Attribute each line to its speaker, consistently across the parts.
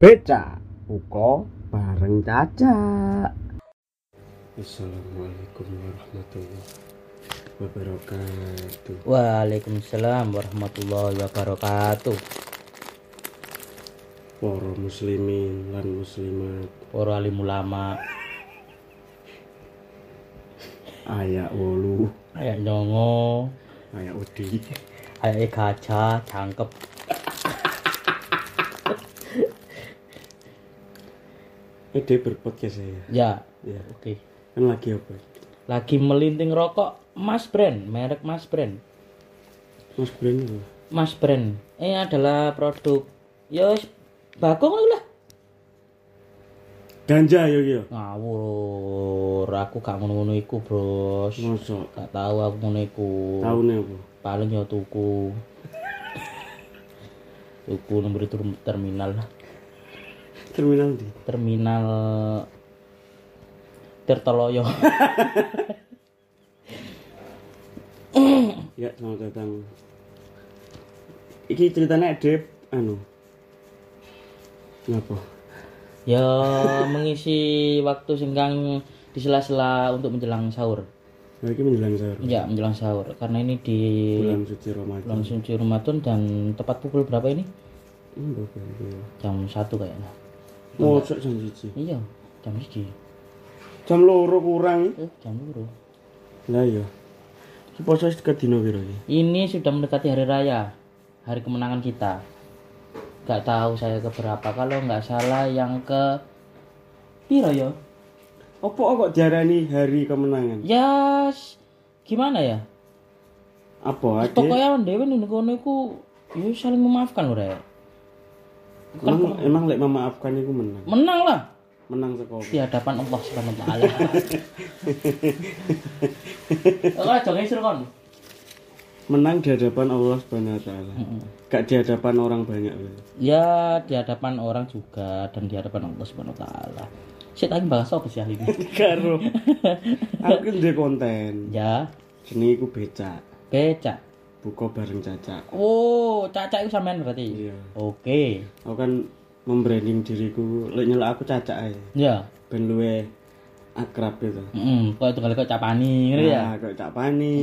Speaker 1: Beca uko bareng Caca.
Speaker 2: Assalamualaikum warahmatullahi wabarakatuh.
Speaker 3: Waalaikumsalam warahmatullahi wabarakatuh.
Speaker 2: Para muslimin lan muslimat
Speaker 3: Para alim ulama,
Speaker 2: ayak wolu,
Speaker 3: ayak nyongo,
Speaker 2: ayak udi,
Speaker 3: ayak gajah, cangkep.
Speaker 2: Ini berpodcast saya.
Speaker 3: Ya,
Speaker 2: Ya,
Speaker 3: oke.
Speaker 2: kan lagi apa?
Speaker 3: Lagi melinting rokok Mas Brand, merek Mas Brand.
Speaker 2: Mas Bren itu.
Speaker 3: Mas Brand. Ini adalah produk ya wis, bagong lu lah.
Speaker 2: Ganja yo yo.
Speaker 3: Ngawur, aku gak ngono-ngono iku, Bros.
Speaker 2: Mosok
Speaker 3: Gak tahu aku ngono iku.
Speaker 2: tahunnya apa?
Speaker 3: Paling ya tuku. tuku nomor itu terminal lah.
Speaker 2: Terminal di.
Speaker 3: terminal Tirtoloyo
Speaker 2: Ya, selamat datang. Iki ceritanya Dep anu. Ngapa?
Speaker 3: ya mengisi waktu senggang di sela-sela untuk menjelang sahur
Speaker 2: Nah, ini menjelang sahur.
Speaker 3: ya menjelang sahur karena ini di
Speaker 2: Bulan suci Ramadan.
Speaker 3: bulan suci Ramadan dan tepat pukul berapa ini
Speaker 2: Hmm, bapak, iya.
Speaker 3: jam satu kayaknya
Speaker 2: Mosok Oh, jam siji.
Speaker 3: iya jam siji
Speaker 2: Jam loro kurang.
Speaker 3: eh, jam dulu
Speaker 2: Lah iya. Ki poso wis dekat dino piro iki?
Speaker 3: ini sudah mendekati hari raya hari kemenangan kita nggak tahu saya keberapa kalau nggak salah yang ke piro ya? yo
Speaker 2: Opo kok diarani hari kemenangan?
Speaker 3: ya s- gimana ya
Speaker 2: Apa ade?
Speaker 3: pokoknya dewe nih kono iku yo saling memaafkan ya. lho rek
Speaker 2: Emang, emang lek memaafkan iku menang.
Speaker 3: menang lah
Speaker 2: Menang saka apa?
Speaker 3: di hadapan Allah Subhanahu wa taala ora jangan suruh kon
Speaker 2: Menang di hadapan Allah Subhanahu wa taala. Gak di hadapan orang banyak lho.
Speaker 3: ya di hadapan orang juga dan di hadapan Allah Subhanahu wa taala Saya tadi bahas apa sih ahli ini?
Speaker 2: Karo. Aku ki ndek konten.
Speaker 3: ya,
Speaker 2: Jenenge iku becak.
Speaker 3: becak.
Speaker 2: Buka bareng Caca.
Speaker 3: Oh, cacak itu sampean berarti.
Speaker 2: Iya.
Speaker 3: Oke.
Speaker 2: Aku kan membranding diriku lek nyelok aku Caca ae.
Speaker 3: Ya.
Speaker 2: Ben luwe akrab gitu.
Speaker 3: Heeh, kok tunggal kok capani gitu ya.
Speaker 2: Nah, kok Cak Pani,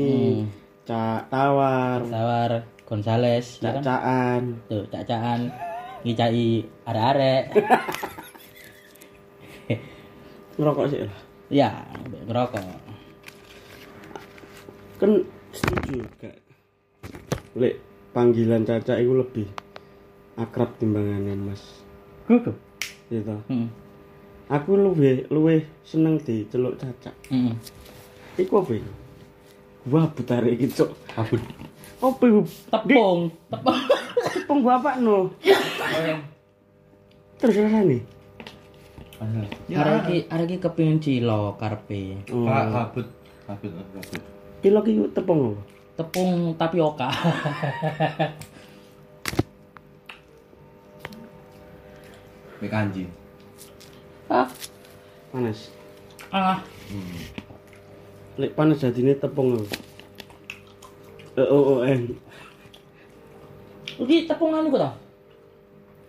Speaker 2: Cak Tawar,
Speaker 3: Tawar Gonzales ya kan?
Speaker 2: Cak Caan.
Speaker 3: tuh cacaan ngicai arek-arek
Speaker 2: ngerokok sih lah
Speaker 3: ya ngerokok
Speaker 2: kan setuju gak lek panggilan caca itu lebih akrab timbangannya mas
Speaker 3: gugup
Speaker 2: gitu
Speaker 3: hmm.
Speaker 2: aku luwe luwe seneng di celuk caca
Speaker 3: hmm.
Speaker 2: iku apa itu wah butare iki cok
Speaker 3: kabut
Speaker 2: apa itu
Speaker 3: tepung tepung
Speaker 2: tepung bapak no terus rasane
Speaker 4: Ya.
Speaker 3: arek iki arek iki kepengin cilok karepe
Speaker 2: Oh.
Speaker 4: Pak kabut, kabut, kabut.
Speaker 2: pilok itu tepung apa
Speaker 3: tepung tapioka
Speaker 4: Mie kanji.
Speaker 3: ah
Speaker 2: panas
Speaker 3: ah
Speaker 2: lek panas jadinya tepung apa E O O N
Speaker 3: iki tepung anu kok to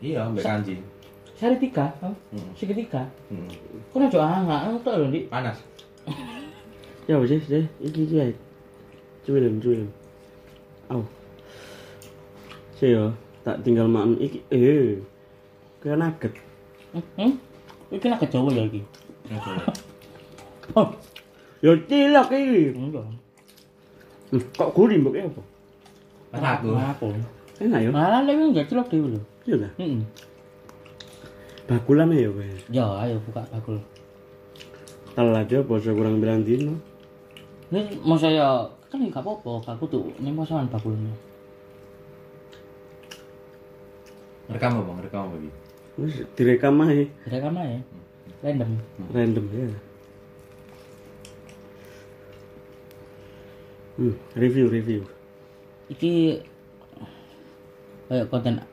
Speaker 4: Iya, mie kanji.
Speaker 3: sari tiga
Speaker 4: Hmm.
Speaker 3: segitiga
Speaker 4: Hmm.
Speaker 3: kok ojo angak anu tok lho ndik
Speaker 4: Panas.
Speaker 2: ya wes deh iki iki ae cuwilen cuwilen au sih yo tak tinggal makan iki eh kaya nugget
Speaker 3: hmm? iki nak Jawa ya iki
Speaker 4: Ya, boleh.
Speaker 3: oh
Speaker 2: yo cilok iki
Speaker 3: enggak
Speaker 2: Hmm, kok gurih mbok apa
Speaker 4: Mas aku.
Speaker 3: aku
Speaker 2: enak yo
Speaker 3: malah leweng enggak cilok dhewe lho
Speaker 2: iya ta
Speaker 3: heeh
Speaker 2: bakulan ya kowe
Speaker 3: ya ayo buka bakul
Speaker 2: tel aja bosa kurang bilang dino
Speaker 3: Ini mau saya kan nggak apa-apa, aku tuh ini mau soal bakulnya.
Speaker 4: Rekam apa, Bang? Rekam apa iki?
Speaker 2: wis direkam ae
Speaker 3: Ada kamar ya? Random.
Speaker 2: random ya hmm, review review
Speaker 3: Iki kayak konten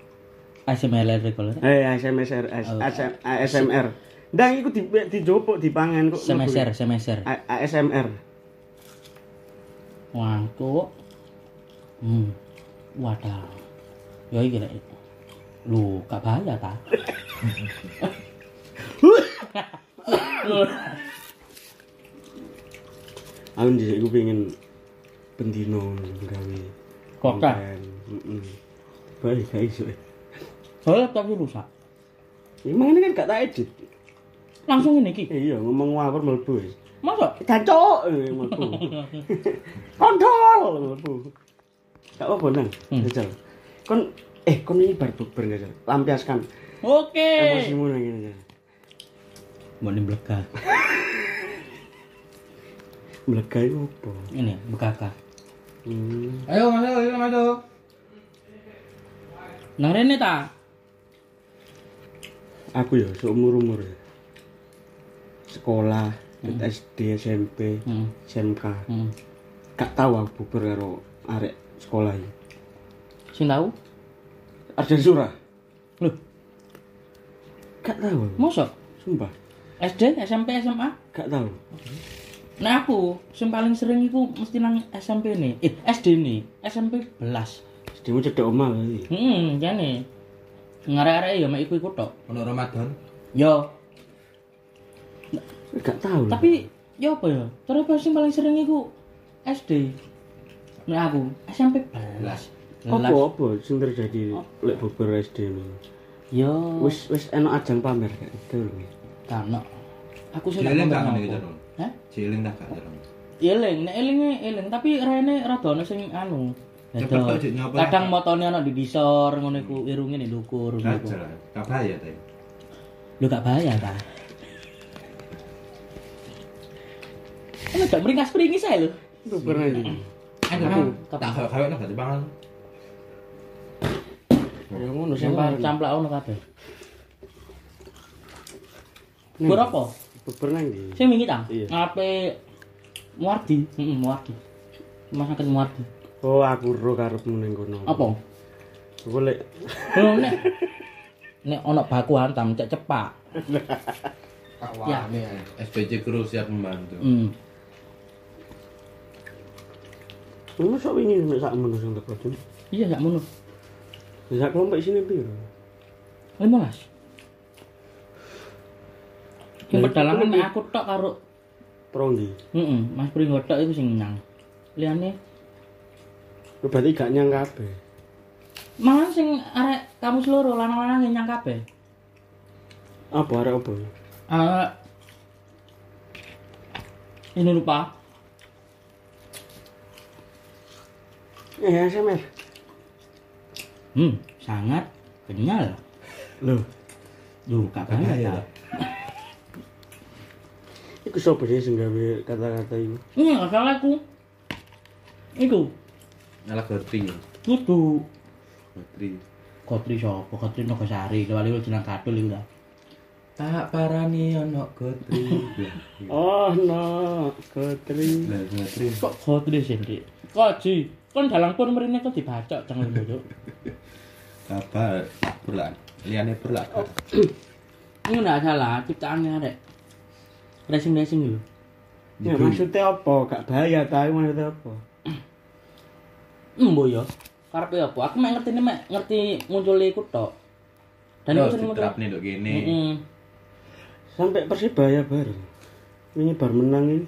Speaker 3: ASMR reguler.
Speaker 2: eh ASMR ASMR ASMR ndang iku di dijopok dipangan kok
Speaker 3: Semester, semester.
Speaker 2: A- ASMR.
Speaker 3: Wangku. Hmm. Wadah. Ya iki rek. Lu, gak bahaya ta?
Speaker 2: aku jadi aku pengen pendino gawe
Speaker 3: Konten.
Speaker 2: heeh baik gak iso e.
Speaker 3: Soalnya laptopku rusak.
Speaker 2: emang ini kan gak tak edit
Speaker 3: Langsung ini ki.
Speaker 2: eh, iya ngomong ngawur mlebu ya
Speaker 3: Masa?
Speaker 2: Jancok eh, mlebu. Kondol mlebu. Gak apa-apa nang.
Speaker 3: Hmm.
Speaker 2: Jajal. Kon eh kon ini bar bubar Jajal. Lampiaskan
Speaker 3: Oke.
Speaker 2: emosimu nang ini Jajal.
Speaker 3: Mau ini belegah.
Speaker 2: Melegai opo?
Speaker 3: Ini begakak.
Speaker 2: Hmm.
Speaker 4: Ayo masuk, ayo masuk.
Speaker 3: Nang rene ta?
Speaker 2: Aku ya seumur-umur ya. Sekolah, SD, SMP,
Speaker 3: Hmm.
Speaker 2: SMK.
Speaker 3: Hmm.
Speaker 2: Gak tahu aku bubar karo arek sekolah iki.
Speaker 3: Sing tahu?
Speaker 2: Arjan Surah.
Speaker 3: Loh,
Speaker 2: Gak tahu. aku.
Speaker 3: masa?
Speaker 2: Sumpah,
Speaker 3: SD, SMP, SMA?
Speaker 2: gak tahu.
Speaker 3: Nah aku, sing paling sering iku mesti nang SMP nih. Eh, SD nih. SMP belas.
Speaker 2: Sedemu cedek omah kali.
Speaker 3: Hmm, jane. Ngarek-arek ya mek iku-iku tok.
Speaker 4: Ono Ramadan.
Speaker 3: Yo,
Speaker 2: Gak tahu. lah.
Speaker 3: tapi yo apa ya? Terus apa sing paling sering iku SD. Nek aku SMP belas. Belas.
Speaker 2: Apa-apa sing terjadi
Speaker 3: Oh.
Speaker 2: lek bubar SD ini.
Speaker 3: Yo, wis
Speaker 2: Wis wis enak ajang pamer gak durung. ya?
Speaker 3: kano. Aku sing
Speaker 4: Ciling gak ngene
Speaker 3: ngomong
Speaker 4: iki
Speaker 3: apa.
Speaker 4: Jarung.
Speaker 3: Hah?
Speaker 4: Ciling dah gak Jarung.
Speaker 3: Eling, nek elinge eling, tapi rene rada ono sing anu.
Speaker 4: Cepet
Speaker 3: Edo.
Speaker 4: kok jek nyapa.
Speaker 3: Kadang motone ono di disor ngono iku, irunge nek ndukur ngono iku.
Speaker 4: Jajal. Kabeh ya teh.
Speaker 3: Lu gak bahaya ta? Kan gak meringas-meringis ae lho.
Speaker 2: Bubar aja.
Speaker 4: Aduh, tak gawe nang gak dipangan.
Speaker 2: Ya ngono sing
Speaker 3: Sampai
Speaker 2: pareng.
Speaker 3: camplak ono kabeh. Bur apa?
Speaker 2: Bubar nang ndi?
Speaker 3: Sing wingi ta?
Speaker 2: Iya.
Speaker 3: Ngape Muardi? Heeh, Muardi. Rumah sakit Muardi.
Speaker 2: Oh, aku ro karepmu ning kono.
Speaker 3: Apa?
Speaker 2: Aku lek
Speaker 3: Lho nek nek ono baku hantam cek cepak.
Speaker 4: Ya, Awalnya SPJ Kru siap membantu.
Speaker 3: Hmm.
Speaker 2: ngono sok wingi nek sak ngono sing tak racun.
Speaker 3: Iya sak ngono.
Speaker 2: Sak kelompok sini piro?
Speaker 3: 15. Ki
Speaker 2: Lah,
Speaker 3: pedalangan
Speaker 2: itu
Speaker 3: nek aku tok karo
Speaker 2: Pronggi.
Speaker 3: heeh, Mas Pringgo tok iku sing nyang. Liyane
Speaker 2: Lu berarti gak nyang kabeh.
Speaker 3: malah sing arek kamu seluruh lanang-lanang yang nyang kabeh.
Speaker 2: Apa arek apa?
Speaker 3: Ah. Ini lupa.
Speaker 2: Eh, SMS.
Speaker 3: Hmm, sangat kenyal.
Speaker 2: Loh,
Speaker 3: Duh, gak banyak
Speaker 4: Bahaya,
Speaker 3: ya.
Speaker 4: Pak.
Speaker 2: iku sapa sih sing gawe kata-kata iku?
Speaker 3: Ini gak salah aku. Itu,
Speaker 4: Nyala Gotri.
Speaker 3: kudu.
Speaker 4: Gotri.
Speaker 3: Kotri sopo, kotri Nogosari, kewali lu jenang kadul itu dah.
Speaker 4: Tak parani ono Gotri.
Speaker 2: Oh, no, ketri.
Speaker 4: Lah Gotri.
Speaker 3: Kok kotri sendiri? Koji, kan dalang pun merine kok dibacok jangan dulu.
Speaker 4: Apa berlan? Liane berlan.
Speaker 3: Ini gak salah, ciptaannya arek. Racing-racing dulu.
Speaker 2: Ya maksudnya apa? Gak bahaya ta iku maksudnya apa?
Speaker 3: Embo yo. Karepe apa? Aku mek ngerti mek ngerti munculnya iku tok. Dan
Speaker 4: Terus
Speaker 3: aku sering muncul.
Speaker 4: diterapne nduk kene.
Speaker 3: Heeh.
Speaker 2: Sampai Persibaya bareng. Ini bar menang ini.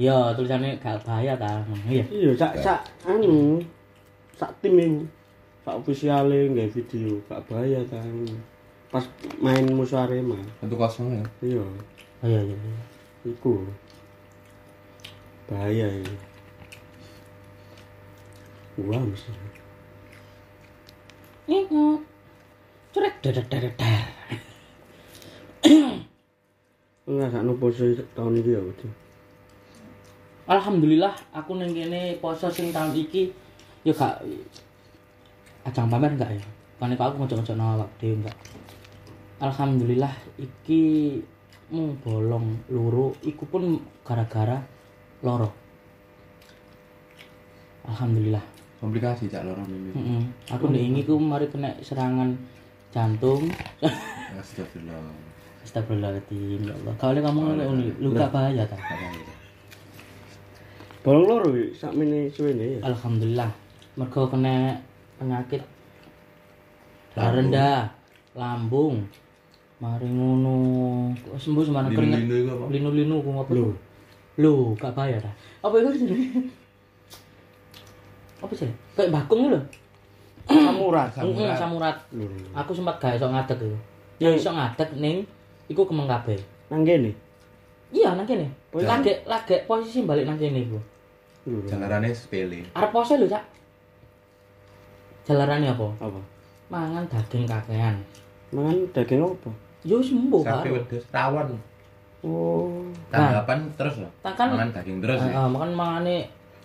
Speaker 3: Yo, tulisannya gak bahaya ta. Iya.
Speaker 2: Iya, sak sak anu sak tim iku. Sak ofisiale nggawe video, gak bahaya ta anu. Pas main musuh Arema.
Speaker 4: Satu kosong ya.
Speaker 2: Iya,
Speaker 3: Oh, Iya iya. iya.
Speaker 2: iku. Bahaya ini. Wah, mesti.
Speaker 3: Ingat. Curet dadat dadat dar.
Speaker 2: Enggak sak nopo sih tahun iki ya, Budi.
Speaker 3: Alhamdulillah aku ning kene poso sing tahun iki yo gak ajang pamer enggak ya. Kan iku aku ngejok-ngejokno awak dhewe enggak. Alhamdulillah iki mung bolong loro iku pun gara-gara loro. Alhamdulillah.
Speaker 4: Komplikasi cak lorong ini.
Speaker 3: Mm-mm. Aku ndek ini ku mari kena serangan jantung.
Speaker 4: Eh, Astagfirullah.
Speaker 3: Astagfirullahaladzim ya Allah. Kalau kamu ngomong luka bahaya ta?
Speaker 2: Bolong loro iki, sak mene suwene ya.
Speaker 3: Alhamdulillah. Mergo kena penyakit Lah rendah, lambung. Mari ngono. Kok sembuh semana keringet.
Speaker 4: Linu-linu itu apa?
Speaker 3: Linu-linu ku ngopo? Lho. Lho, gak bayar ah. Apa itu jenenge? Apa sih? Kayak bakung lho.
Speaker 1: Samurat,
Speaker 3: Samurat. samurat. Aku sempat gak iso ngadeg itu. Ya iso ngadeg ning iku kemeng kabeh.
Speaker 2: nang kene
Speaker 3: Iya, nang kene. Lagek lagek posisi balik nang kene iku.
Speaker 2: Lho, lho.
Speaker 4: Jalarannya sepele.
Speaker 3: Arep poso lho, Cak. Jalarane apa?
Speaker 2: apa
Speaker 3: Mangan daging kakean.
Speaker 2: mangan daging apa
Speaker 3: Yo sembuh, Pak.
Speaker 4: Sampai wedhus tawon.
Speaker 2: oh
Speaker 4: Tanggapan terus loh.
Speaker 3: Tangan
Speaker 4: Makan daging terus ya.
Speaker 3: Heeh, Eh, makan mangane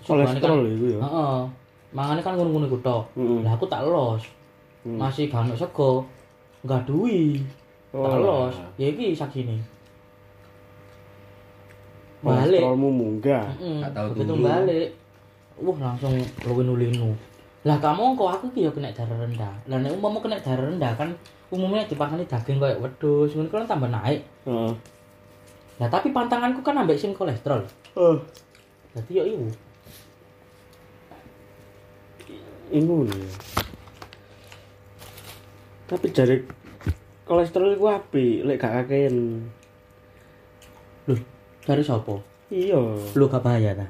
Speaker 2: kolesterol itu ya
Speaker 3: Heeh. Mangane kan ngono-ngono iku tok.
Speaker 2: Heeh.
Speaker 3: Lah aku tak los.
Speaker 2: Hmm.
Speaker 3: Masih gak ono sego. Enggak duwi. Tak
Speaker 2: Oh,
Speaker 3: los. Ya iki sakine. Balik.
Speaker 2: kolesterolmu munggah
Speaker 3: Heeh.
Speaker 4: Gak tau
Speaker 3: Begitu
Speaker 4: tunggu.
Speaker 3: balik. Wah, langsung luwih-luwinu. Lah kamu kok aku ki ya kena darah rendah. Lah nek umpama kena darah rendah kan umumnya dipakani daging kayak wedhus, ngono kan tambah naik.
Speaker 2: heeh
Speaker 3: Lah tapi pantanganku kan ambek sing kolesterol.
Speaker 2: eh
Speaker 3: Dadi yo iku.
Speaker 2: ingun ya tapi dari kolesterol iku apik lek gak kakean
Speaker 3: Loh, dari sapa?
Speaker 2: iya
Speaker 3: Lu gak bahaya ta?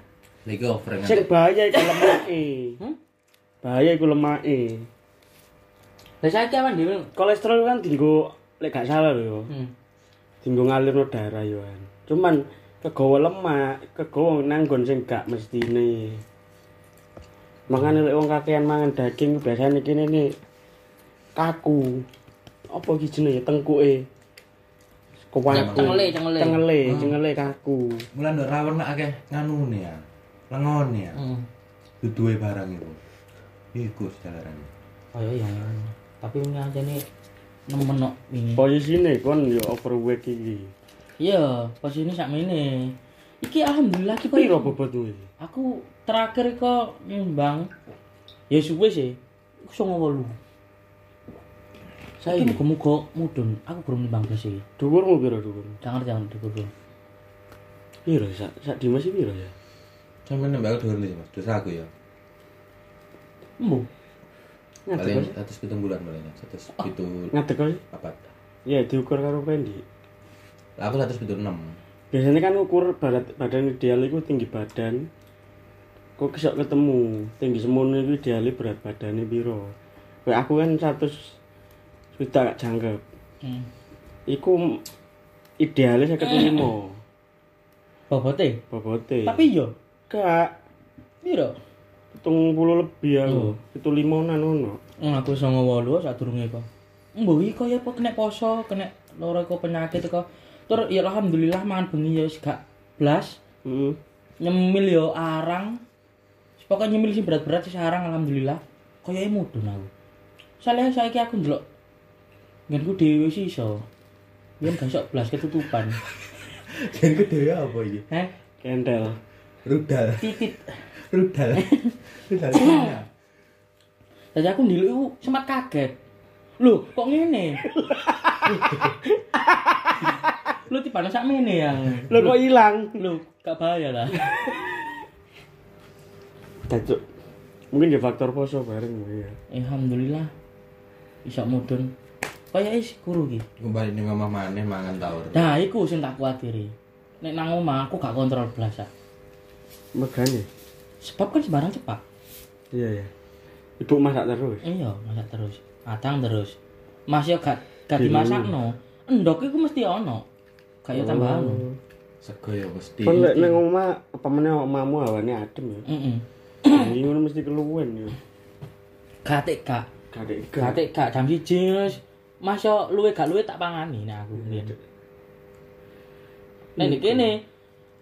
Speaker 4: Lagi over
Speaker 2: sing bahaya iku lemake
Speaker 3: Hmm?
Speaker 2: bahaya iku lemake
Speaker 3: Lah saiki awan dhewe.
Speaker 2: kolesterol kan dinggo lek gak salah lho ya.
Speaker 3: Hmm.
Speaker 2: dinggo ngalirno darah yo kan. Cuman kegawa lemak, kegawa nanggon sing gak mestine. Mangane lek wong kakean mangan daging biasane kene iki kaku. Apa iki jenenge tengkuke? Kewaku.
Speaker 3: Cengele, Hmm. cengele.
Speaker 2: Cengele, cengele kaku.
Speaker 4: Mulan ndok rawon nak akeh nganu nih ya. Lengon nih ya.
Speaker 3: Heeh.
Speaker 4: Duduwe barang itu. Iku jalarannya.
Speaker 3: Kaya yang ngono. iya, Tapi ini aja nih nemen kok wingi.
Speaker 2: Posisine kon yo overweight iki.
Speaker 3: Iya, posisi sak mene. Iki alhamdulillah ki
Speaker 2: Piro
Speaker 3: kok
Speaker 2: bobotmu iki?
Speaker 3: aku terakhir kok nyumbang. Ya suwe sih. Iku 98. Saiki muga-muga mudun, aku belum nyumbang blas iki.
Speaker 2: Dhuwurmu piro dhuwurmu?
Speaker 3: Jangan jangan dikudu.
Speaker 2: Piro sak sak Dimas iki piro ya?
Speaker 4: Sampe nembak aku dhuwur nih, Mas. Terus aku ya.
Speaker 3: Embo.
Speaker 2: Ngadeg
Speaker 4: Paling
Speaker 2: kok-
Speaker 4: 107 bulan paling. 107
Speaker 2: ngadeg kok.
Speaker 4: apa?
Speaker 2: Ya diukur karo pendek.
Speaker 4: Lah aku 176.
Speaker 2: biasanya kan ukur barat, badan ideal itu tinggi badan kok bisa ketemu tinggi semono itu idealnya berat badannya biro kayak aku kan 100 juta gak jangkep
Speaker 3: Hmm.
Speaker 2: iku e idealnya saya ketemu
Speaker 3: Bobote.
Speaker 2: bobote
Speaker 3: Tapi yo
Speaker 2: gak
Speaker 3: piro?
Speaker 2: hitung puluh lebih aku itu limonan ono
Speaker 3: Wong Hmm, aku songo wolu sadurunge kok. Mbok iki kaya apa kena poso, kena lara kok penyakit kok. Tur ya alhamdulillah mangan bengi ya wis gak blas,
Speaker 2: Heeh.
Speaker 3: nyemil ya arang. Wis Pokoknya nyemil sih berat-berat sih arang alhamdulillah. Kayake mudun aku. Soalnya saiki aku ndelok ngenku dhewe sih iso. Yen gak iso blas ketutupan.
Speaker 4: Jadi gede apa iki?
Speaker 3: Heh,
Speaker 2: kentel
Speaker 4: Rudal.
Speaker 3: titit.
Speaker 4: Rudal. Rudal Cina.
Speaker 3: Jadi aku ndelok iku sempat kaget. Loh, kok ngene? Lu tiba-tiba sak ngene yang
Speaker 2: lo kok hilang
Speaker 3: lu gak bahaya lah
Speaker 2: Dajuk. mungkin di faktor poso bareng ya
Speaker 3: alhamdulillah bisa mudun kaya is guru ki
Speaker 4: Kembali ning omah maneh mangan tawur.
Speaker 3: nah iku sing tak kuatiri nek nang omah aku gak kontrol belas Sak.
Speaker 2: megane
Speaker 3: sebab kan sembarang cepat
Speaker 2: iya ya ibu masak terus
Speaker 3: iya masak terus adang terus mas yo gak gak dimasakno endok iku mesti ono gak yo
Speaker 2: Oh.
Speaker 3: tambah ono
Speaker 4: Sego ya mesti.
Speaker 2: Kon lek nang omah apa meneh omahmu hawane adem ya.
Speaker 3: heeh
Speaker 2: Ini ngono mesti keluwen ya.
Speaker 3: gak tega
Speaker 2: Kadek
Speaker 3: gak
Speaker 2: kadek.
Speaker 3: tega jam siji wis. mas yo luwe gak luwe tak pangani nek aku biyen Nek di kene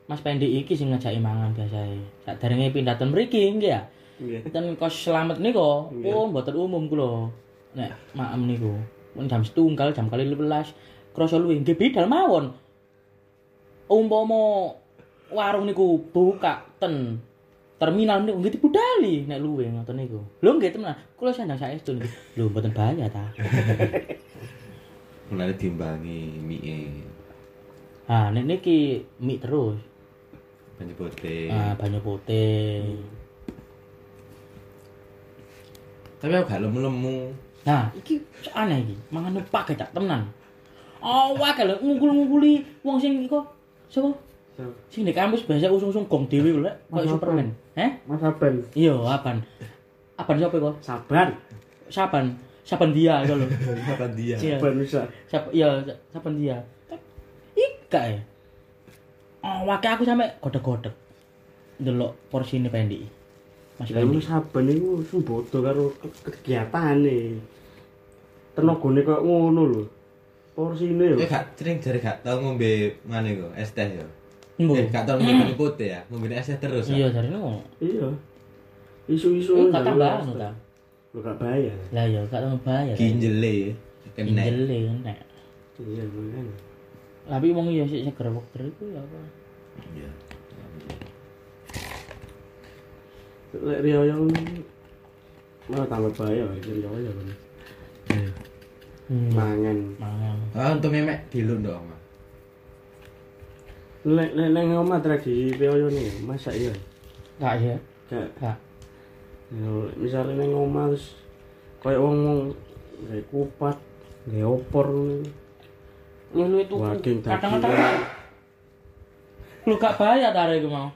Speaker 3: Mas Pendi iki sing ngejaki mangan biasae. Saderenge pindah ten mriki nggih ah. ya.
Speaker 2: Iya.
Speaker 3: Ten kos slamet niku, oh mboten umum kula. Nek maem niku, mun jam setunggal jam kali 11 krasa luwih nggih bidal mawon. Umpama warung niku buka ten terminal niku nggih dibudali nek luwih ngoten niku. Lho nggih tenan, kula sandang saestu niku. Lho mboten bahaya ta.
Speaker 4: Mulane diimbangi mie.
Speaker 3: Ha nek niki mie terus.
Speaker 4: Banyu putih.
Speaker 3: Ah banyu putih.
Speaker 4: Tapi aku gak lemu-lemu.
Speaker 3: Nah, iki aneh iki. Mangane pakai tak temenan. Awak lho ngungkul-ngungkuli wong sing iku sapa?
Speaker 2: Siapa?
Speaker 3: Sing di kampus biasa usung-usung gong dhewe lho,
Speaker 2: Mas
Speaker 3: koyo
Speaker 2: Aban.
Speaker 3: Superman. Heh?
Speaker 2: Mas Aban.
Speaker 3: Iya, Aban. Aban sapa iku?
Speaker 2: Saban.
Speaker 3: Saban. Saban dia iku lho.
Speaker 4: Apa dia?
Speaker 3: Iya.
Speaker 2: Saban bisa.
Speaker 3: Siapa iya saban dia. Ika ya. Awake aku sampe godheg-godheg. Ndelok porsine pendek. Masih
Speaker 2: Lah emang
Speaker 3: pendek.
Speaker 2: Saban iku sembodo karo ke- kegiatane. Tenagane koyo ngono lho. Porsine yo.
Speaker 4: Kowe gak sering jare gak tau ngombe ngene kok, es teh yo.
Speaker 3: Embo.
Speaker 4: Eh, gak tau ngombe kopi putih ya, ngombe es teh terus.
Speaker 3: Iya,
Speaker 4: ya?
Speaker 3: jarene kok.
Speaker 2: Iya. Isu-isu
Speaker 3: Enggak tambah anu ta.
Speaker 2: Lu gak bayar.
Speaker 3: Lah ya, gak tambah bayar.
Speaker 4: Ginjele kena.
Speaker 3: Injele nek.
Speaker 2: Iya, makanya.
Speaker 3: Tapi wong ya sik seger weger iku ya apa.
Speaker 4: Iya.
Speaker 2: Lek riyo malah tambah bayar riyo yo.
Speaker 3: Hmm.
Speaker 2: Mangan.
Speaker 3: Mangan.
Speaker 4: Ah, untuk memek dilun dong, Mas.
Speaker 2: Lek lek nang omah tradisi riyo nih, masak ya.
Speaker 3: Gak ya?
Speaker 2: Kayak
Speaker 3: Gak.
Speaker 2: Yo, misalnya neng omah terus kayak wong wong kayak kupat, kayak opor ngono.
Speaker 3: Lu itu
Speaker 2: Daging
Speaker 3: kadang-kadang
Speaker 2: dagingan,
Speaker 3: lu gak bayar tarik iku mau.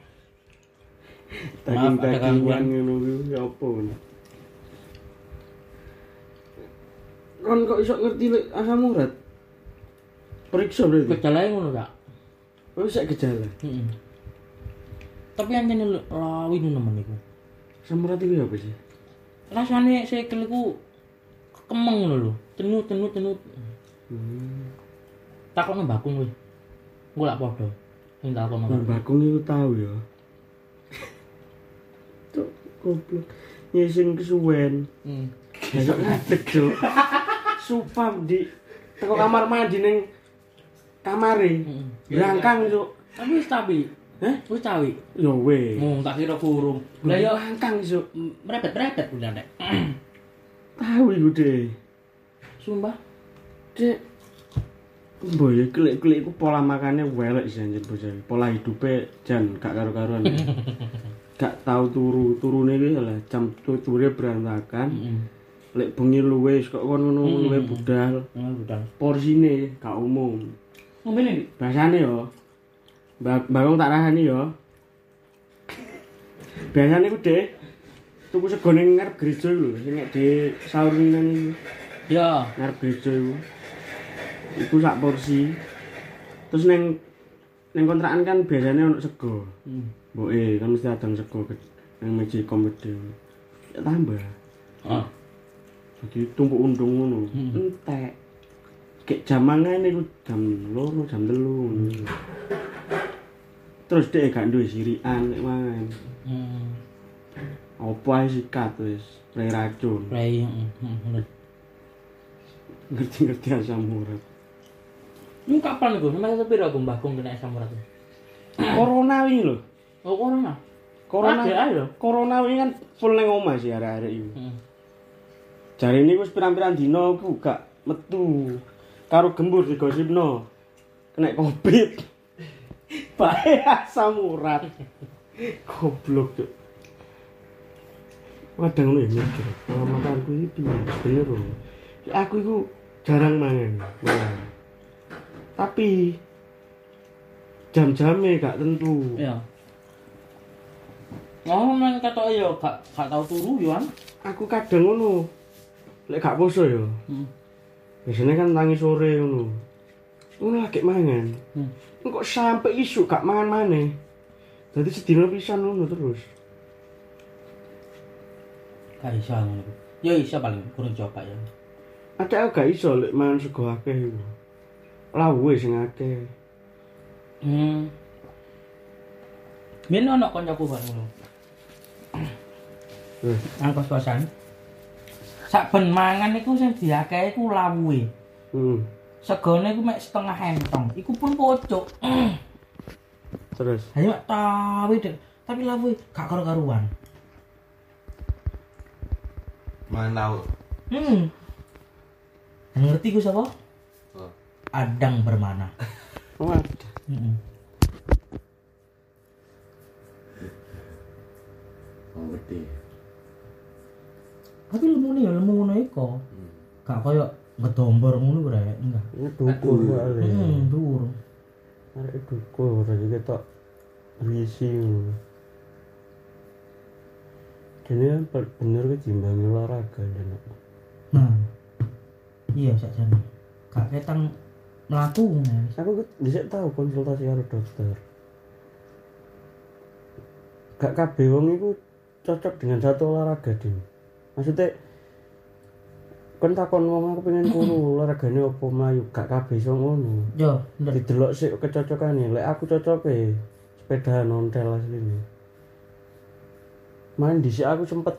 Speaker 2: daging
Speaker 3: Maaf, ada
Speaker 2: dagingan
Speaker 3: gangguan.
Speaker 2: ngono kuwi ya apa ngono. Kon kok iso ngerti lek asam urat? Periksa berarti.
Speaker 3: Gejalanya ngono gak?
Speaker 2: Wis sak gejala.
Speaker 3: Heeh. Tapi anjene lu- rawi nu nemen iku.
Speaker 2: Asam urat itu apa sih?
Speaker 3: Rasane sekel iku kemeng ngono lho. Tenu tenu tenu.
Speaker 2: Hmm.
Speaker 3: Takokno mbakku kuwi. Engko lak padha. Sing takokno.
Speaker 2: Nah, bakung itu tahu ya. Cuk, goblok. Nyesing kesuwen.
Speaker 3: Hmm.
Speaker 2: Besok ngadeg, Cuk. Supam di teko kamar mandi ning kamare.
Speaker 3: Heeh.
Speaker 2: Rangkang, Cuk.
Speaker 3: Tapi wis tapi. Heh, wis tawi.
Speaker 2: Yo weh.
Speaker 3: Mung tak kira kurung. Lah ya
Speaker 2: rangkang, Cuk.
Speaker 3: merepet-merepet udah nek.
Speaker 2: Tahu iku, Dek.
Speaker 3: Sumpah.
Speaker 2: Dek. Mbok ya klik-klik iku pola makannya welek sih anjir bocah. Pola hidupe jan gak karo-karuan. ya. gak tahu turu turune iki lah jam turune berantakan.
Speaker 3: Heeh.
Speaker 2: Lek bengi luwes kok kon ngono luwe
Speaker 3: Hmm.
Speaker 2: budal.
Speaker 3: Ngono udah.
Speaker 2: Porsine gak umum.
Speaker 3: Ngombe nih.
Speaker 2: biasanya yo ba- bagong tak rahani yo biasanya ku deh tuku sego ning ngarep gereja iku lho sing nek di sahur nang iku
Speaker 3: Ya.
Speaker 2: ngarep gereja iku iku sak porsi terus neng neng kontrakan kan biasanya ono sego
Speaker 3: Hmm.
Speaker 2: mboke kan mesti adang sego ke nang meja komedi ya tambah
Speaker 3: Ah.
Speaker 2: jadi tumpuk undung ngono
Speaker 3: Hmm.
Speaker 2: entek kayak jam mangan iku jam loro jam telu terus dia gak duwe sirian nek mangan
Speaker 3: Hmm.
Speaker 2: apa ae sikat wis spray racun
Speaker 3: Play. heeh, heeh.
Speaker 2: ngerti-ngerti asam urat
Speaker 3: Ini kapan gue? Namanya sepiro aku mbakung kena asam urat.
Speaker 2: corona wingi lho Ah,
Speaker 3: Oh corona.
Speaker 2: corona
Speaker 3: Ada aja.
Speaker 2: corona wingi kan full nang omah sih arek-arek iku
Speaker 3: Heeh.
Speaker 2: jare ini wis pirang-pirang dina iku gak metu karo gembur digosipno kena covid bae asam urat goblok cuk wadah ngono ya mikir kalau makanku ini piye bener lho aku iku jarang mangan mangan. tapi jam-jamnya gak tentu
Speaker 3: Iya. Oh, nang kata ya gak gak tau turu yo kan.
Speaker 2: aku kadang ngono lek gak poso ya
Speaker 3: Heeh.
Speaker 2: biasanya kan tangi sore ngono ngono lagi mangan
Speaker 3: Hmm.
Speaker 2: Ini kok sampai isu gak mangan mana jadi sedina pisan ngono terus
Speaker 3: Gak iso ngono. iku. Ya iso paling kurang coba ya.
Speaker 2: ada aku gak iso lek mangan sego akeh iku lawe sing akeh
Speaker 3: Hmm. Biyen ono kancaku kan ngono.
Speaker 2: Eh.
Speaker 3: Nang kos-kosan. Saben mangan iku sing diakehi iku lawuhe.
Speaker 2: hmm.
Speaker 3: Segone iku mek setengah entong. Iku pun pojok.
Speaker 2: terus
Speaker 3: Ayo mek tawi deh. Tapi lawuhe gak karo-karuan.
Speaker 4: Mangan lauk.
Speaker 3: Hmm. Yang ngerti gue siapa?
Speaker 4: Oh.
Speaker 3: Adang Hmm. bermana.
Speaker 2: wadah
Speaker 3: Heeh.
Speaker 4: Oh, ngerti. Oh,
Speaker 3: Tapi lemu nih ya, lemu ngono iko.
Speaker 4: Hmm.
Speaker 3: gak koyo ngedombor ngono brek enggak
Speaker 2: Ini dukur kali.
Speaker 3: hmm dhuwur
Speaker 2: Arek dukur jadi ketok berisi. ngono. Kene per- bener kejimbangi olahraga dan apa.
Speaker 3: nah iya sakjane gak ketang mlaku ngono
Speaker 2: Aku ke- bisa tahu konsultasi karo dokter. Gak kabeh wong iku cocok dengan satu olahraga, Din. Maksudnya kon takon wong aku pengen kuru olahragane opo mlayu, gak kabeh iso ngono.
Speaker 3: yo bener
Speaker 2: didelok sih kecocokane lek aku cocoke sepeda nontel asline main dhisik aku sempet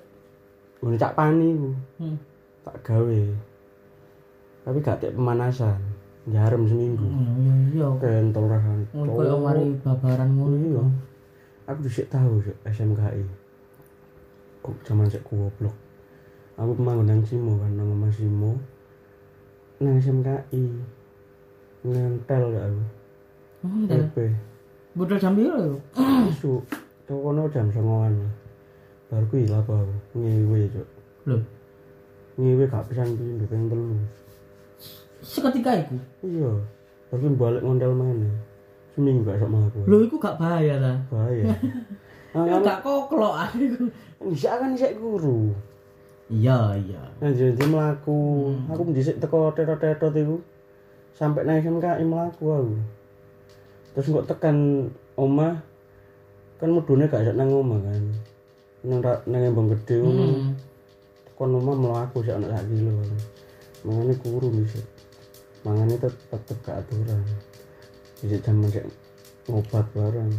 Speaker 2: ngono cak pani ku
Speaker 3: Hmm.
Speaker 2: tak gawe tapi gak tek pemanasan jarem seminggu
Speaker 3: Hmm, iya iya
Speaker 2: kentol rahan
Speaker 3: ngono koyo mari babaran ngono
Speaker 2: Oh. iya aku dhisik tahu Cuk, SMKI kok zaman sik goblok aku manggon nang Simo kan nang omah Simo nang SMKI ngentel gak aku
Speaker 3: Entar,
Speaker 2: PP
Speaker 3: Hmm, budal jam piro yo?
Speaker 2: Isu, cok kono jam songoan Baru ku ilah apa aku, ngewe cok
Speaker 3: Loh,
Speaker 2: Ngewe gak pisan pindu, pengen telu
Speaker 3: seketika iku.
Speaker 2: Iya, baru ku balik ngontel mana Seminggu gak sama aku
Speaker 3: Loh, iku gak bahaya ta.
Speaker 2: Bahaya Nah,
Speaker 3: Ya
Speaker 2: kan
Speaker 3: gak koklok ah iku.
Speaker 2: bisa kan bisa guru
Speaker 3: Iya, iya.
Speaker 2: Nah jadi melaku
Speaker 3: Hmm.
Speaker 2: Aku mendisik teko tetot-tetot itu Sampai naik SMK melaku aku Terus kok tekan omah Kan mudune gak bisa nang omah kan Nang, ra- nang embong gede omah.
Speaker 3: Hmm.
Speaker 2: kon omah mlaku sik ana sak kilo mangane kuru bisa mangane tet- tetep gak aturan bisa jaman sik ngobat bareng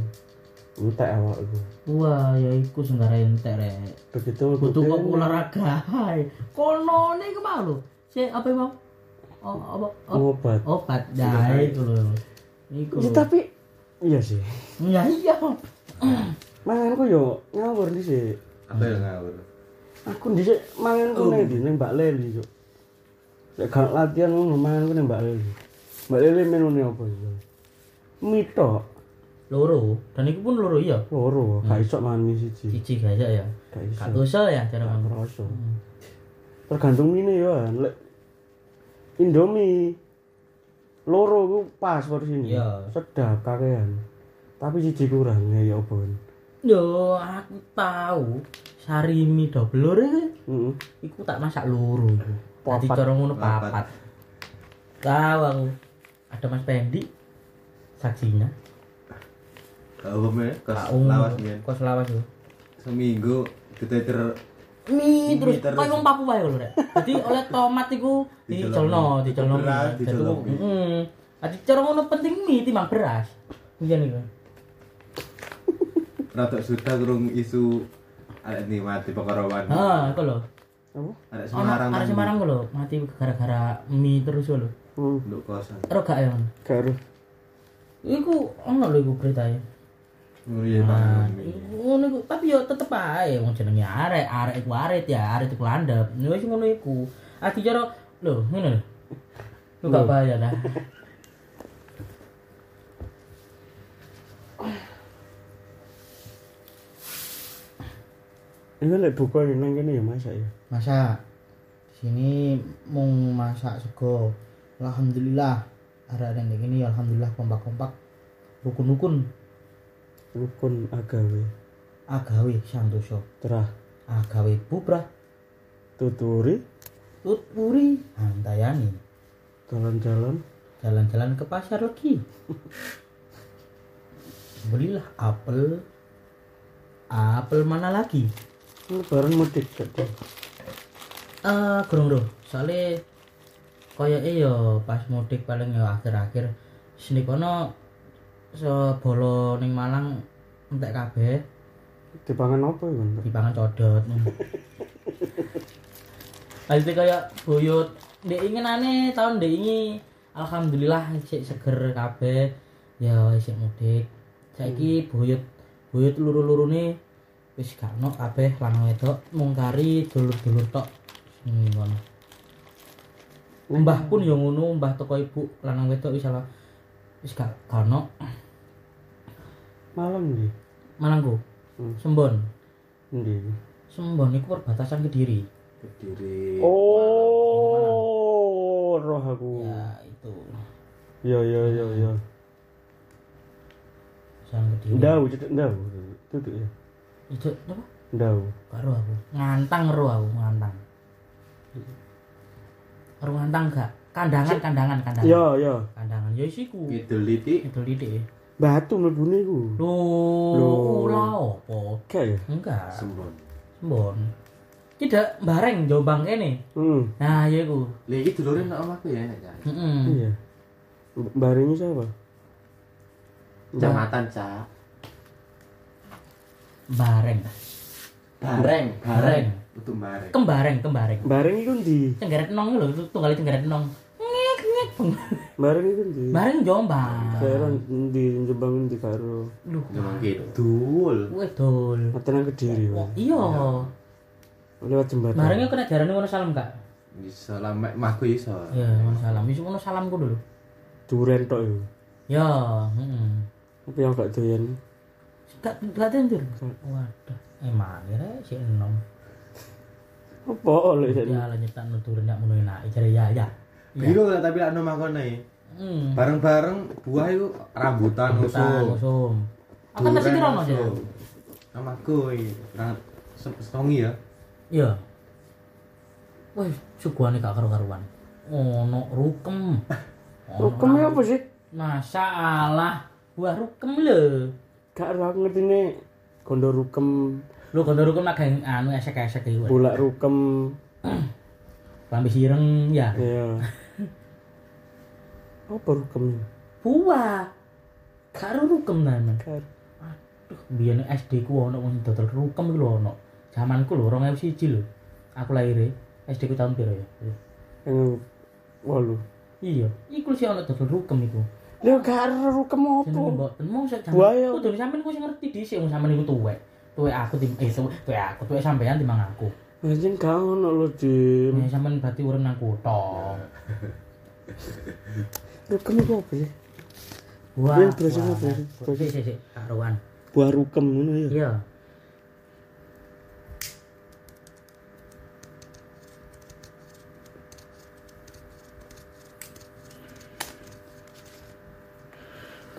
Speaker 2: entek awak iku
Speaker 3: Wah, ya iku sing gara entek rek.
Speaker 2: begitu aku
Speaker 3: Butuh kok
Speaker 2: kene,
Speaker 3: olahraga. hai. Konone iku mau lho. Si apa mau? Oh, apa? Oh,
Speaker 2: ngobat
Speaker 3: obat. Nah, iku lho. Iku.
Speaker 2: Ya, tapi iya sih
Speaker 3: Ya iya.
Speaker 2: manganku yo ngawur dhisik
Speaker 4: Apa yang ngawur?
Speaker 2: aku Oh. dhisik manganku nang ndi nang Mbak Leli cuk lek gak latihan ngono manganku nang Mbak Leli Mbak Leli menune apa iku mito
Speaker 3: Loro. Dan iku pun loro iya.
Speaker 2: loro gak iso mangan mie siji
Speaker 3: Cici gak ya.
Speaker 2: Hmm. gak iso Hmm.
Speaker 3: Gak usah ya cara
Speaker 2: Gak
Speaker 3: kamu.
Speaker 2: kerasa. Tergantung ini ya, lek Indomie loro ku pas porsinya.
Speaker 3: Iya.
Speaker 2: Sedap kakean. Tapi siji kurang ya ya apa.
Speaker 3: Yo, aku tahu. Sarimi double loro iku.
Speaker 2: Heeh.
Speaker 3: Iku tak masak loro iku. Dadi
Speaker 2: Papat.
Speaker 3: cara ngono
Speaker 4: Papat.
Speaker 3: papat. Tahu aku. Ada Mas Pendi saksinya.
Speaker 4: Kak Umum ya, kos
Speaker 3: Pak Um.
Speaker 4: lawas men.
Speaker 3: Kos lawas yo.
Speaker 4: Seminggu kita ter
Speaker 3: Mi
Speaker 4: Mi
Speaker 3: terus
Speaker 4: terus.
Speaker 3: koyo wong Papua iku lho rek. Dadi oleh tomat iku dicolno,
Speaker 4: Dicolno.
Speaker 3: dicolno.
Speaker 4: Beras
Speaker 3: Dadi
Speaker 4: dicolno.
Speaker 3: wong- Heeh. Dadi cara ngono penting mi timbang beras. Iya niku.
Speaker 4: rata sudah kurung isu ada nih mati pekarawan.
Speaker 3: Ha, iku lho.
Speaker 2: Apa?
Speaker 3: Ono
Speaker 4: Ada Semarang.
Speaker 3: arek Semarang ku lho, mati gara-gara mi terus ku lho.
Speaker 2: Hmm,
Speaker 4: Untuk kosan.
Speaker 3: Ero gak ya?
Speaker 2: karo.
Speaker 3: Iku ono lho iku beritanya.
Speaker 4: Ngeri ya
Speaker 3: Nah,
Speaker 4: Pak.
Speaker 3: iku ngono iku tapi yo tetep ae wong jenenge arek, arek iku arit ya, arek iku landep. Ya wis ngono iku. Ati cara lho, ngono lho. Lu gak bahaya dah.
Speaker 2: Ini lek buka ini nang kene ya masak ya.
Speaker 5: masak di sini mau masak sego alhamdulillah ada yang kayak gini alhamdulillah kompak kompak rukun rukun
Speaker 2: Rukun agawe,
Speaker 5: agawe santoso
Speaker 2: terah,
Speaker 5: agawe bubrah
Speaker 2: tuturi,
Speaker 5: tutpuri antayani
Speaker 2: jalan-jalan.
Speaker 5: jalan-jalan ke pasar lagi belilah apel apel mana lagi
Speaker 2: Ini barang mudik jadi.
Speaker 5: Ah, kurang roh. Soale koyoke yo pas mudik paling yo akhir-akhir sini kono sebolo ning Malang entek kabeh
Speaker 2: Dipangan apa ya, Bang?
Speaker 5: dipangan codot. Pasti kaya buyut. Dek ingin aneh tahun dek ini alhamdulillah sik seger kabeh. Ya sik mudik. Saiki buyut buyut luru-lurune wis gak ono kabeh lanang wedok mung kari dulur-dulur tok. Hmm, ngono. Mbah pun yang ngono, mbah toko ibu lanang wedok wis ala wis gak gak ono
Speaker 2: Malam iki.
Speaker 5: Malangku.
Speaker 2: Hmm.
Speaker 5: Sembon.
Speaker 2: Endi?
Speaker 5: Sembon iku perbatasan Kediri.
Speaker 4: Kediri.
Speaker 2: Oh, roh aku.
Speaker 3: ya itu
Speaker 2: Iya iya iya iya.
Speaker 3: soal gede
Speaker 2: Ndau, cetek ndau. Tutuk ya.
Speaker 3: itu apa
Speaker 2: Ndau.
Speaker 3: gak roh aku ngantang roh aku ngantang roh ngantang gak kandangan kandangan kandangan
Speaker 2: Iya iya.
Speaker 3: kandangan ya isiku
Speaker 4: Ngidul titik.
Speaker 3: itu lidik
Speaker 2: Batu mlebune iku.
Speaker 3: lu
Speaker 2: Lho.
Speaker 3: ula opo
Speaker 2: Kayak ya.
Speaker 3: enggak
Speaker 4: Sembon.
Speaker 3: sembon tidak bareng jombang kene
Speaker 2: Hmm.
Speaker 3: nah ya iku
Speaker 4: Lah iki dulure nek omahku ya nek Cak.
Speaker 3: heeh
Speaker 2: Iya. B- Barengnya siapa?
Speaker 4: Kecamatan, Cak.
Speaker 3: bareng
Speaker 4: Bareng,
Speaker 3: Bareng.
Speaker 4: bareng. Untuk bareng.
Speaker 3: kembareng kembareng
Speaker 2: Bareng iku ndi?
Speaker 3: cenggeret nong lho itu tunggal cenggeret nong ngek ngek
Speaker 2: Bareng iku ndi?
Speaker 3: bareng jombang
Speaker 2: Daerah ndi Jembang ndi karo
Speaker 3: lu
Speaker 4: Ngomong kidul.
Speaker 3: wedol
Speaker 2: Matenang Kediri. Wan.
Speaker 3: iya
Speaker 2: Lewat jembatan.
Speaker 3: barengnya kena jarane ngono salam gak
Speaker 4: Bisa lah mek mahku iso.
Speaker 3: ya ngono salam wis ngono salamku dulu
Speaker 2: Duren tok yo.
Speaker 3: ya heeh
Speaker 2: Tapi yang gak doyan.
Speaker 3: gak gak tentu waduh Eh, emang kira si enom
Speaker 2: Apa oleh sak
Speaker 3: ya lanjut tak nuturin nak ngono enak jare ya ya
Speaker 4: Biru lah tapi lak omahku nih.
Speaker 3: hmm
Speaker 4: ya. Bareng-bareng buah itu rambutan
Speaker 3: Tan,
Speaker 4: usum.
Speaker 3: usum aku masih kira ono ya
Speaker 4: Omahku iki. Rang- se- Songi ya.
Speaker 3: Iya. Wih, suguhane gak karu-karuan. Ono rukem. Ono
Speaker 2: Rukemnya apa sih?
Speaker 3: Masalah buah rukem lho.
Speaker 2: Gak ero aku ngerti nih. Gondo rukem,
Speaker 3: Lho kono rukem nak geng anu esek-esek iki. weh.
Speaker 2: bulak rukem,
Speaker 3: Lambe sireng ya.
Speaker 2: ya. Apa rukem?
Speaker 3: Buah. Karo rukem nana.
Speaker 2: Kar-
Speaker 3: Biyen SD ku ono wong dodol rukem iku lho ono. Zamanku lho 2001 lho. Aku lahir SD ku tahun piro ya?
Speaker 2: Yang walu.
Speaker 3: Iya, iku sih ono dodol rukem iku.
Speaker 2: Ya gak ero rukem apa?
Speaker 3: jenenge mboten mau sak
Speaker 2: Buaya.
Speaker 3: jaman. Kudu sampean kuwi sing ngerti dhisik wong sampean iku tuwek. Tuwek aku tim eh tuwek tuwek aku tuwek sampean timang aku.
Speaker 2: Anjing gak ono lho, Dim.
Speaker 3: Nek sampean berarti urip nang kutho.
Speaker 2: Rukem iku apa sih?
Speaker 3: Wah.
Speaker 2: Iya, terus apa, terus?
Speaker 3: Sik sik sik karuan.
Speaker 2: Buah rukem ngono ya.
Speaker 3: Iya.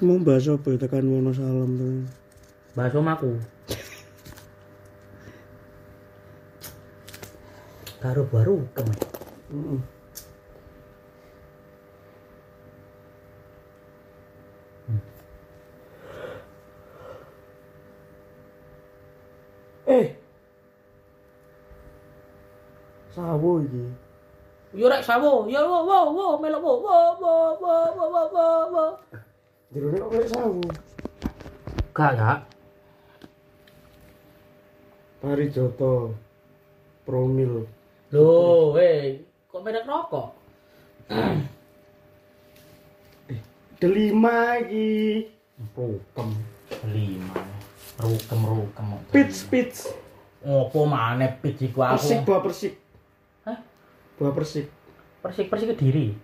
Speaker 2: Mau bahas apa ya tekan Wonosalam tuh.
Speaker 3: Bahasa omaku. Karo baru kemen.
Speaker 2: Heeh. Eh. Sawo iki.
Speaker 3: Yo rek sawo, yo wo wo wo melok wo wo wo wo wo wo wo wo.
Speaker 2: Jerone kok kayak sawo.
Speaker 3: Gak gak.
Speaker 2: Parijoto. Promil.
Speaker 3: Loh, eh kok merek rokok?
Speaker 2: Delima iki.
Speaker 3: Rukem lima. Rukem rukem.
Speaker 2: Pits pits.
Speaker 3: Ngopo maneh pijiku
Speaker 2: Persik
Speaker 3: aku.
Speaker 2: buah persik.
Speaker 3: Hah?
Speaker 2: Buah persik.
Speaker 3: Persik persik Kediri.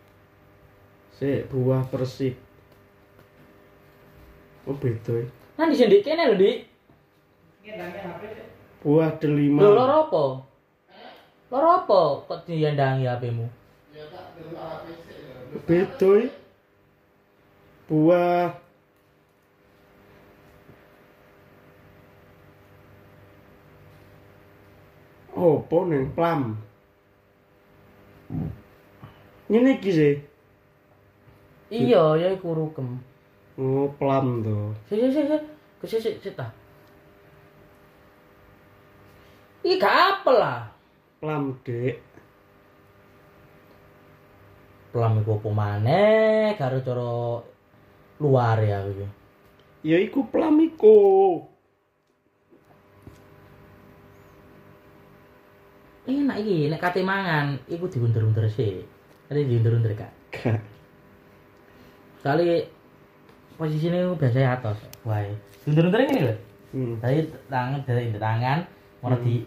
Speaker 2: Sik buah persik. Oh beda. ya.
Speaker 3: Nang di sendiri kene lho, Dik.
Speaker 2: Buah delima.
Speaker 3: Lho loro apa? Loro apa kok diendangi HP-mu?
Speaker 2: Bedoy. eh? Buah. Oh, Apa nih? Plam. Ini iki sih.
Speaker 3: Iya, ya iku rukem.
Speaker 2: Oh, plam tuh.
Speaker 3: Sik sik sik sik. Kesik sik sik ta. Iki gak apel lah.
Speaker 2: Plam, Dek.
Speaker 3: Pelam iku opo maneh karo cara luar ya aku iki.
Speaker 2: Ya iku plam iku.
Speaker 3: enak iki nek kate mangan iku diundur-undur sih kate diundur-undur kak
Speaker 2: Gak.
Speaker 3: kali posisinya biasanya atas wae diundur-undur ngene lho Hmm.
Speaker 2: Hmm.
Speaker 3: dari tangan dari indah tangan mau di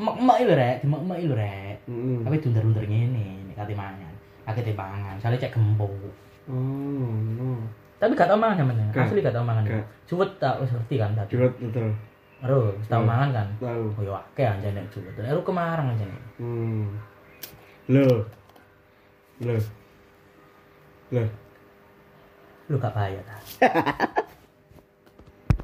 Speaker 3: mek-mek lho rek di mek-mek lho rek
Speaker 2: Hmm.
Speaker 3: tapi diundur-undur ngene nek kate mangan kate mangan soalnya cek gembung
Speaker 2: Oh, no.
Speaker 3: tapi gak tau mangan sampean
Speaker 2: Gak.
Speaker 3: asli gak tau mangan
Speaker 2: Gak.
Speaker 3: cuwet tak wis ngerti kan tadi
Speaker 2: Jurat betul.
Speaker 3: ero wis tau
Speaker 2: Hmm.
Speaker 3: mangan kan
Speaker 2: Tahu.
Speaker 3: oh yo
Speaker 2: 嗯
Speaker 3: akeh anjane cuwet ero kemarang anjane
Speaker 2: Hmm. Loh.
Speaker 3: Lu gak bahaya ta.